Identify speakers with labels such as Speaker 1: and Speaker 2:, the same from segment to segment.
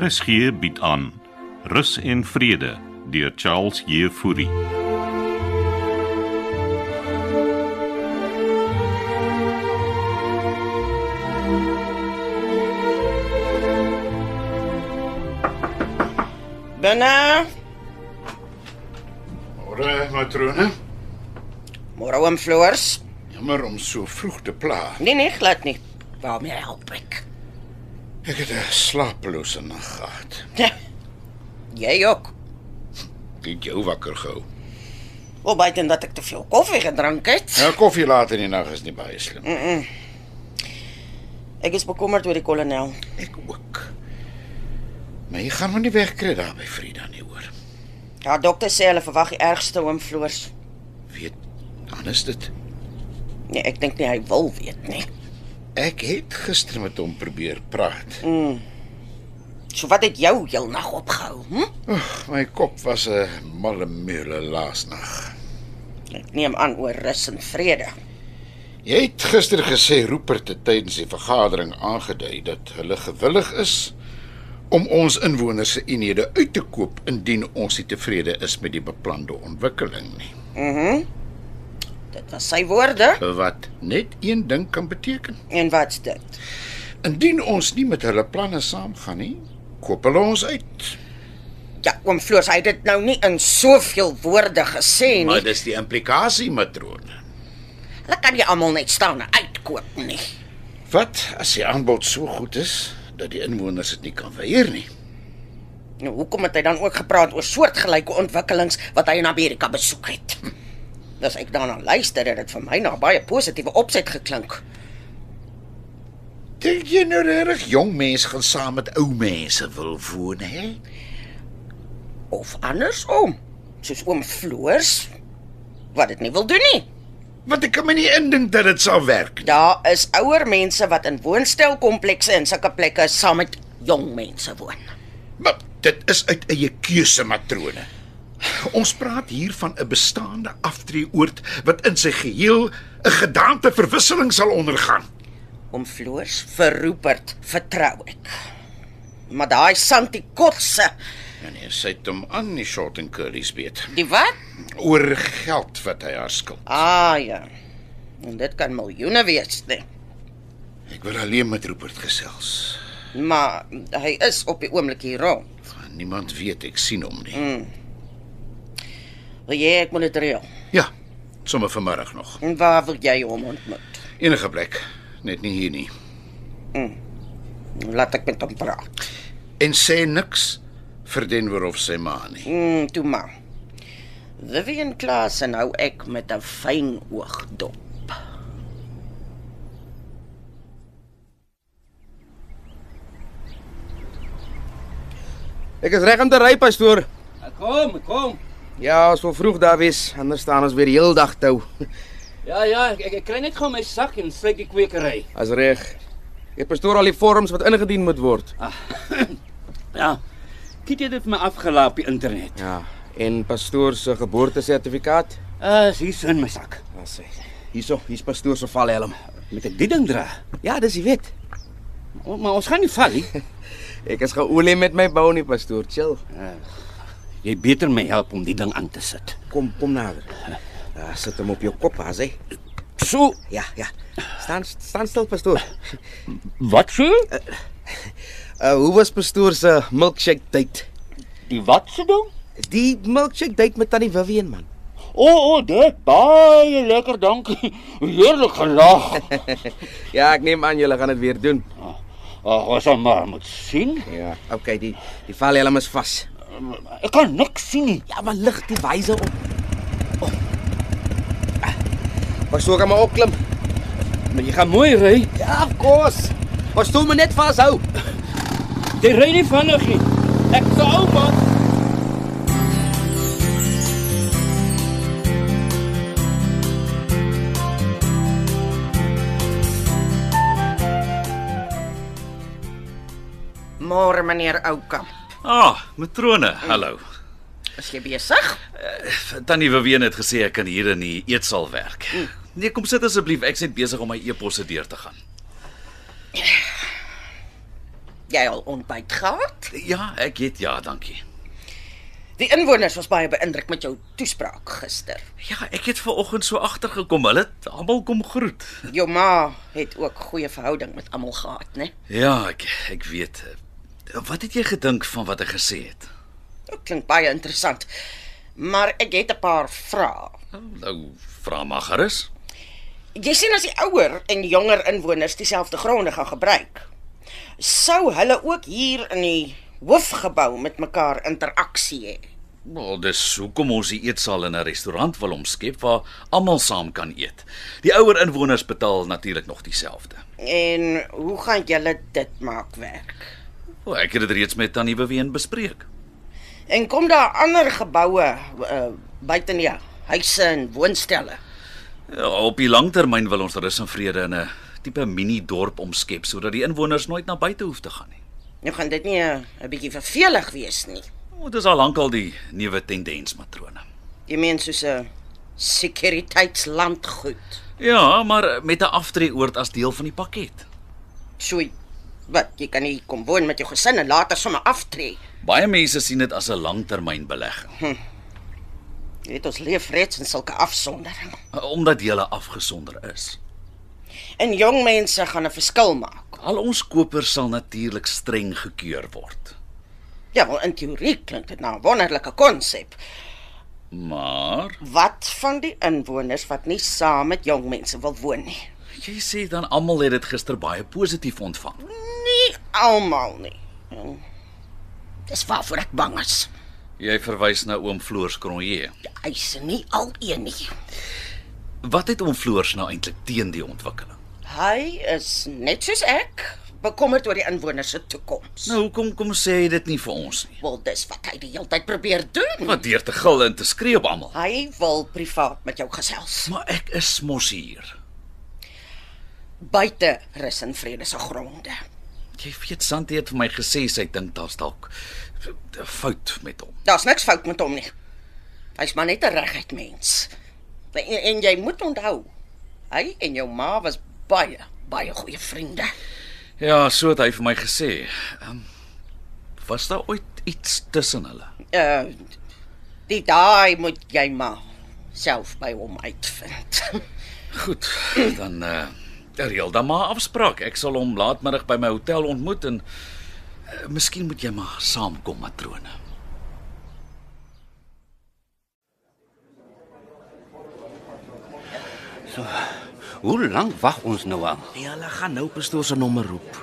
Speaker 1: RSG bied aan Rus en Vrede deur Charles Jefouri.
Speaker 2: Binne.
Speaker 3: Môre, matrone.
Speaker 2: Môre oom Floors.
Speaker 3: Jammer om so vroeg te pla.
Speaker 2: Nee nee, glad nie. Waarmee help ek?
Speaker 3: Ek het 'n slapelose nag gehad.
Speaker 2: Ja, Jy ook.
Speaker 3: Ek Het jou wakker gehou.
Speaker 2: Hoe baie dan dat ek te veel koffie gedrink het.
Speaker 3: Nou koffie laat in die nag is nie baie slim.
Speaker 2: Ek is bekommerd oor die kolonel.
Speaker 3: Ek ook. Maar jy gaan my nie wegkry daar by Frida nie hoor.
Speaker 2: Ja, dokter sê hulle verwag die ergste oom Floors.
Speaker 3: Weet, dan is dit.
Speaker 2: Nee, ek dink nie hy wil weet nie.
Speaker 3: Ek het gister met hom probeer praat.
Speaker 2: So wat het jou heel nag opgehou? Hm?
Speaker 3: Ag, my kop was 'n malle mule laas nag.
Speaker 2: Ek neem aan oor rus en vrede.
Speaker 3: Jy het gister gesê Rupert het tydens die vergadering aangedui dat hulle gewillig is om ons inwoners se eenhede uit te koop indien ons nie tevrede is met die beplande ontwikkeling nie.
Speaker 2: Dit was sy woorde.
Speaker 3: Wat net een ding kan beteken.
Speaker 2: En wat's dit?
Speaker 3: Indien ons nie met hulle planne saamgaan nie, koop hulle ons uit.
Speaker 2: Ja, oom Floors, hy het dit nou nie in soveel woorde gesê nie.
Speaker 3: Maar dis die implikasie, matrone.
Speaker 2: Hulle kan nie almal net staan en uitkoop nie.
Speaker 3: Wat as die aanbod so goed is dat die inwoners dit nie kan weier nie?
Speaker 2: Nou hoekom het hy dan ook gepraat oor soortgelyke ontwikkelings wat hy in Amerika besoek het? Hm. As ek daarna luister, het dit vir my na baie positiewe opset geklink.
Speaker 3: Dink jy nou regtig jong mense gaan saam met ou mense wil woon, hè?
Speaker 2: Of andersom, soos oom Floors wat dit nie wil doen nie.
Speaker 3: Want ek kan my nie indink dat dit sal werk nie.
Speaker 2: Daar is ouer mense wat in woonstelkomplekse en sulke plekke saam met jong mense woon.
Speaker 3: Maar dit is uit eie keuse matrone. Ons praat hier van 'n bestaande aftreeoord wat in sy geheel 'n gedaante verwisseling sal ondergaan.
Speaker 2: Oom Floors vir Rupert vertrou ek. Maar daai Santi Kotse,
Speaker 3: En nee, sy het hom aan die short and curlies beet
Speaker 2: die wat?
Speaker 3: oor geld wat hy haar skuld.
Speaker 2: Ah ja. En dit kan miljoene wees, nee.
Speaker 3: Ek wil alleen met Rupert gesels.
Speaker 2: Maar hy is op die oomblik hier rond.
Speaker 3: Niemand weet ek sien hom nie. Mm.
Speaker 2: Wil jy ek moet dit reël?
Speaker 3: Ja, sommer vanmiddag nog.
Speaker 2: En waar wil jy hom ontmoet?
Speaker 3: Enige plek, net nie hier nie.
Speaker 2: Laat ek met hom praat.
Speaker 3: En sê niks vir Denver of sy ma nie.
Speaker 2: Mm, toe maar. Vivian Klasen hou ek met 'n fyn oog dop.
Speaker 4: Ek is reg om te ry, pastoor.
Speaker 5: Kom, kom.
Speaker 4: Ja, so vroeg daar wees, anders staan ons weer die heel dag tou.
Speaker 5: Ja ja, ek ek, ek kry net gou my sak en sluit die kwekery.
Speaker 4: As reg. Ek pastoor al die vorms wat ingedien moet word.
Speaker 5: Ah, Ja. Kyk jy dit vir my afgelaap op die internet?
Speaker 4: Ja, en pastoor se geboortesertifikaat.
Speaker 5: Ah, uh, hier's in my sak.
Speaker 4: Ons sê. Hierso, hier's pastoor se valhelm.
Speaker 5: Moet ek die ding dra?
Speaker 4: Ja, dis die wet.
Speaker 5: O, maar ons gaan nie val nie.
Speaker 4: Ek is geolie met my bou nie, pastoor. Chill.
Speaker 5: Jy beter my help om die ding aan te sit.
Speaker 4: Kom, kom nader. Ja, sit hom op jou kop, as hy.
Speaker 5: So,
Speaker 4: Ja, ja. Staan staan stil, pastoor.
Speaker 5: wat so?
Speaker 4: Uh, hoe was pastoor se milkshake date?
Speaker 5: Die wat se ding?
Speaker 4: Die milkshake date met tannie Vivian man.
Speaker 5: O, oh, oh, dit baie lekker, dankie. Heerlik gelag.
Speaker 4: Ja, ek neem aan julle gaan dit weer doen.
Speaker 5: Ag, ons sal maar moet sien.
Speaker 4: Ja, okay, die die valhelm is vas.
Speaker 5: Ek kan niks sien nie.
Speaker 4: Ja, maar lig die wyse op. Oh. Pastoor kan maar opklim.
Speaker 5: Maar jy gaan mooi ry.
Speaker 4: Ja, kos. Pastoor moet net vashou.
Speaker 5: Jy ry nie vinnig nie. Ek sal ouma.
Speaker 2: Môre meneer Oukamp.
Speaker 6: Ah, matrone, hallo.
Speaker 2: Is jy besig?
Speaker 6: Tannie Vivienne het gesê ek kan hier in die eetsaal werk. Nee, kom sit asseblief. Ek's net besig om my e-posse deur te gaan.
Speaker 2: Jy al ontbyt gehad?
Speaker 6: Ja, ek het ja, dankie.
Speaker 2: Die inwoners was baie beïndruk met jou toespraak gister.
Speaker 6: Ja, ek het ver oggend so agtergekom. Hulle het almal kom groet.
Speaker 2: Jou ma het ook goeie verhouding met almal gehad, né?
Speaker 6: Ja, ek ek weet. Wat het jy gedink van wat ek gesê het?
Speaker 2: Dit klink baie interessant. Maar ek het 'n paar vrae.
Speaker 6: Nou, vra maar gerus.
Speaker 2: Jy sien as die ouer en jonger inwoners dieselfde gronde gaan gebruik, sou hulle ook hier in die hoofgebou met mekaar interaksie hê.
Speaker 6: Wel, dis hoekom ons die eetsaal in 'n restaurant wil omskep waar almal saam kan eet. Die ouer inwoners betaal natuurlik nog dieselfde.
Speaker 2: En hoe gaan julle dit maak werk?
Speaker 6: O, ek het dit reeds met Tannie Beween bespreek.
Speaker 2: En kom daar ander geboue uh, buite die huise en woonstelle?
Speaker 6: Ja, op die langtermyn wil ons rus en vrede in 'n tipe mini dorp omskep sodat die inwoners nooit na buite hoef te gaan nie.
Speaker 2: Nou gaan dit nie 'n uh, bietjie vervelig wees nie.
Speaker 6: O, dis al lankal die nuwe tendens matrone.
Speaker 2: Jy meen soos 'n sekuriteitslandgoed.
Speaker 6: Ja, maar met 'n aftreeoord as deel van die pakket.
Speaker 2: So wat, jy kan nie kom woon met jou gesin en later sommer aftree.
Speaker 6: Baie mense sien dit as 'n langtermynbelegging
Speaker 2: Jy weet ons leef reeds in sulke afsondering.
Speaker 6: omdat jy hulle afgesonder is.
Speaker 2: En jong mense gaan 'n verskil maak.
Speaker 6: Al ons kopers sal natuurlik streng gekeur word.
Speaker 2: Ja, wel in teorie klink dit nou 'n wonderlike konsep.
Speaker 6: Maar
Speaker 2: Wat van die inwoners wat nie saam met jong mense wil woon nie?
Speaker 6: jy sê dan almal het dit gister baie positief ontvang.
Speaker 2: Nie almal nie. En Dis waarvoor ek bang is.
Speaker 6: Jy verwys na oom Floors Cronje.
Speaker 2: Die eise nie al een nie.
Speaker 6: Wat het oom Floors nou eintlik teen die ontwikkeling?
Speaker 2: Hy is net soos ek, bekommerd oor die inwoners se toekoms.
Speaker 6: Nou hoekom kom sê hy dit nie vir ons nie?
Speaker 2: Wel dis wat hy die hele tyd probeer doen.
Speaker 6: Wat deur te gil en te skree op almal.
Speaker 2: Hy wil privaat met jou gesels.
Speaker 6: Maar ek is mos hier.
Speaker 2: Buite rus en vrede se gronde.
Speaker 6: Jy weet Santi het vir my gesê sy dink daar's dalk 'n fout met hom.
Speaker 2: Daar's niks fout met hom nie. Hy's maar net 'n reguit mens. En, en jy moet onthou, hy en jou ma was baie, baie goeie vriende.
Speaker 6: Ja, so het hy vir my gesê. Um, was daar ooit iets tussen hulle?
Speaker 2: Uh die daai moet jy maar self by hom uitvind.
Speaker 6: Goed, dan eh uh, reël dan maar 'n afspraak. Ek sal hom laatmiddag by my hotel ontmoet en uh, miskien moet jy maar saamkom, matrone.
Speaker 5: Hoe lank wag ons nou al?
Speaker 7: Nee, hulle gaan nou pastoor se nommer roep.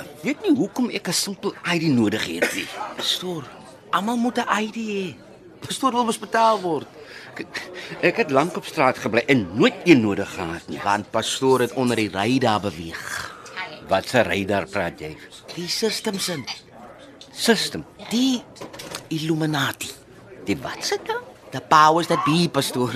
Speaker 5: Ek weet nie hoekom ek 'n simpel ID nodig het nie.
Speaker 7: Pastoor, almal moet 'n ID hê. Pastoor wil mos betaal word.
Speaker 5: Ek, ek het lank op straat gebly en nooit een nodig gehad nie.
Speaker 7: Want pastoor het onder die ry daar beweeg.
Speaker 5: Wat se radar praat jy?
Speaker 7: Die system sin,
Speaker 5: System.
Speaker 7: die Illuminati,
Speaker 5: Die wat se dan?
Speaker 7: the powers that be, pastoor.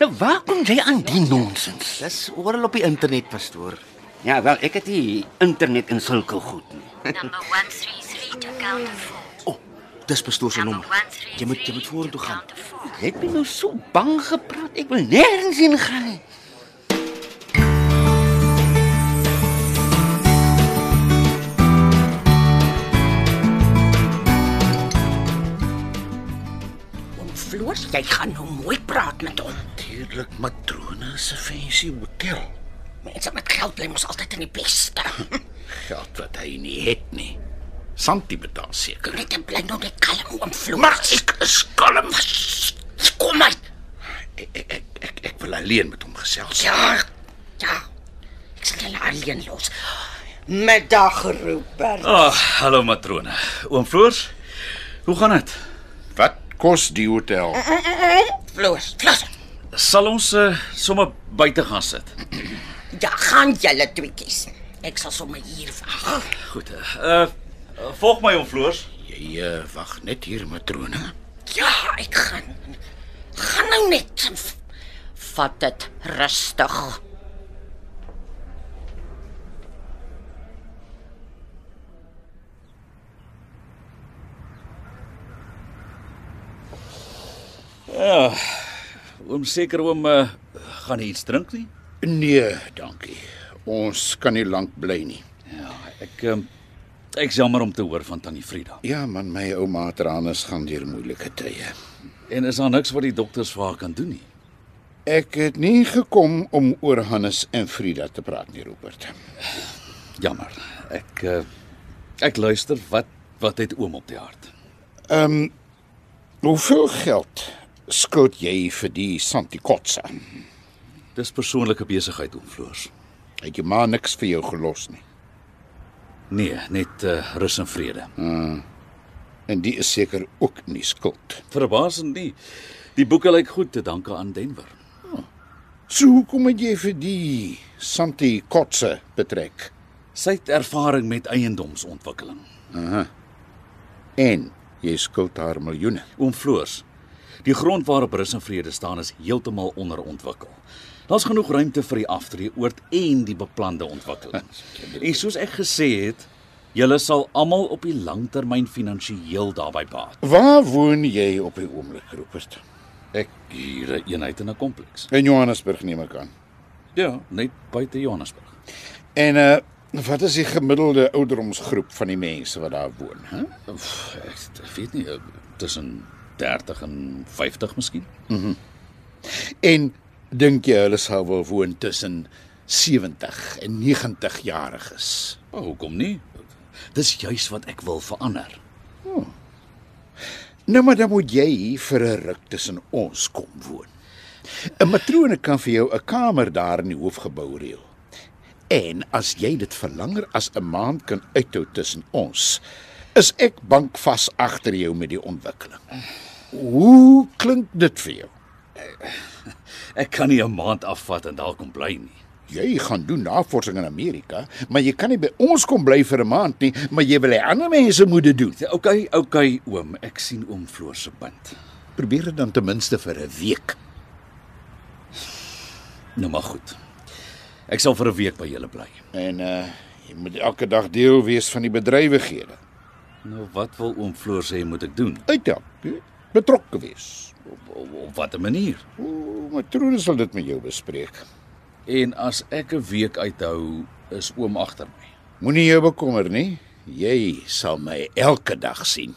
Speaker 5: Nou waar kom jy aan die nonsens?
Speaker 7: Dis oral op die internet, pastoor.
Speaker 5: Ja, wel, ek het nie internet en sulke goed nie.
Speaker 8: Number 133 to count to 4.
Speaker 7: O, oh, dis pastoor se
Speaker 8: Number
Speaker 7: nommer.
Speaker 8: 133.
Speaker 7: Jy moet jy moet vorentoe gaan.
Speaker 8: to count to four.
Speaker 5: Jy Ja, het my nou so bang gepraat. Ek wil nêrens heen gaan nie.
Speaker 2: Oom Floors, jy gaan nou mooi praat met hom.
Speaker 3: Natuurlik matrone se fancy hotel.
Speaker 2: Mense met geld bly mos altyd in die beste.
Speaker 3: Geld wat hy nie het nie. Santi betaal seker.
Speaker 2: Net en bly nou net kalm oom Floors.
Speaker 3: Maar ek is kalm.
Speaker 2: kom uit.
Speaker 3: Ek ek ek, ek, ek wil alleen met hom gesels.
Speaker 2: Ja. Ja. Ek sal julle alleen los. Middag Rupert.
Speaker 6: Ag, oh, hallo matrone. Oom Floors, hoe gaan dit?
Speaker 3: Wat kos die hotel?
Speaker 2: Floors, Floors.
Speaker 6: Sal ons uh, sommer buite gaan sit?
Speaker 2: Ja, gaan julle tweetjies. Ek sal sommer hier wag.
Speaker 6: Goed. Uh, uh volg my oom Floors.
Speaker 3: Jy eh, wag net hier matrone.
Speaker 2: Ja, ek gaan. Gaan nou net. Vat dit rustig.
Speaker 6: Oom seker oom uh, gaan iets drink nie?
Speaker 3: Nee, dankie. Ons kan nie lank bly nie.
Speaker 6: Ja, ek um, Ek jammer om te hoor van tannie Frida.
Speaker 3: Ja man, my ouma Tranus gaan deur moeilike tye.
Speaker 6: En is daar niks wat die dokters vir haar kan doen nie?
Speaker 3: Ek het nie gekom om oor Hannes en Frida te praat nie, Rupert.
Speaker 6: Jammer. Ek uh, ek luister wat wat het oom op die hart.
Speaker 3: Hoeveel geld skuld jy vir die Santikotsa?
Speaker 6: Dis persoonlike besigheid oom Floors.
Speaker 3: Het jou ma niks vir jou gelos nie.
Speaker 6: Nee, net uh, rus en vrede.
Speaker 3: En die is seker ook nie skuld.
Speaker 6: Verbasend nie. Die boeke lyk goed te danke aan Denver.
Speaker 3: So hoekom het jy vir die Santikotsa betrek?
Speaker 6: Sy het ervaring met eiendomsontwikkeling.
Speaker 3: En jy skuld haar miljoene.
Speaker 6: Oom Floors, die grond waarop rus en vrede staan is heeltemal onderontwikkel. Daar's genoeg ruimte vir die aftreeoord en die beplande ontwikkelings. En soos ek gesê het, julle sal almal op die langtermyn finansiëel daarbey baat.
Speaker 3: Waar woon jy op die oomblik, Rupert?
Speaker 6: Ek huur 'n eenheid in 'n kompleks.
Speaker 3: In Johannesburg neem ek aan.
Speaker 6: Ja, net buite Johannesburg.
Speaker 3: En uh wat is die gemiddelde ouderdomsgroep van die mense wat daar woon, hè?
Speaker 6: Oef, ek weet nie eh, tussen 30 en 50 miskien.
Speaker 3: En dink jy hulle sal wel woon tussen 70 en 90 jariges?
Speaker 6: Maar hoekom nie? Dis juis wat ek wil verander.
Speaker 3: Nou maar dan moet jy vir 'n ruk tussen ons kom woon. 'n Matrone kan vir jou 'n kamer daar in die hoofgebou reël. En as jy dit vir langer as 'n maand kan uithou tussen ons, is ek bankvas agter jou met die ontwikkeling. Hoe klink dit vir jou?
Speaker 6: Ek kan nie 'n maand afvat en daar kom bly nie.
Speaker 3: Jy gaan doen navorsing in Amerika, maar jy kan nie by ons kom bly vir 'n maand nie, maar jy wil hê ander mense moet dit doen.
Speaker 6: Sê, Okay, okay oom, ek sien oom Floor se punt.
Speaker 3: Probeer dit dan ten minste vir 'n week.
Speaker 6: Nou maar goed. Ek sal vir 'n week by julle bly.
Speaker 3: En uh jy moet elke dag deel wees van die bedrywighede.
Speaker 6: Nou wat wil oom Floor sê moet ek doen?
Speaker 3: Uithelp, jy weet, betrokke wees.
Speaker 6: Op, op, op watter manier?
Speaker 3: O, matrone sal dit met jou bespreek.
Speaker 6: En as ek 'n week uithou, is oom agter my.
Speaker 3: Moenie jou bekommer nie. Jy sal my elke dag sien.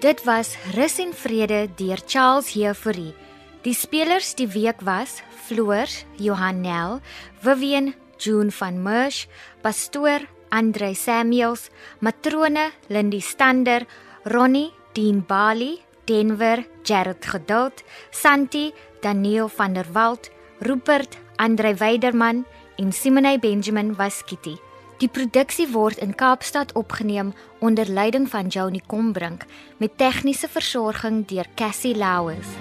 Speaker 8: Dit was Rus en Vrede deur Charles Heffouri. Die spelers die week was Floors, Johannel, Vivian, June van Merch, Pastoor Andre Samuels, matrone Lindy Stander, Ronnie Dean Bali, Denver Jared Geduld, Santi Daniel van der Walt, Rupert Andre Weiderman en Simone Benjamin was Kitty. Die produksie word in Kaapstad opgeneem onder leiding van Johnny Combrink met tegniese versorging deur Cassie Louws.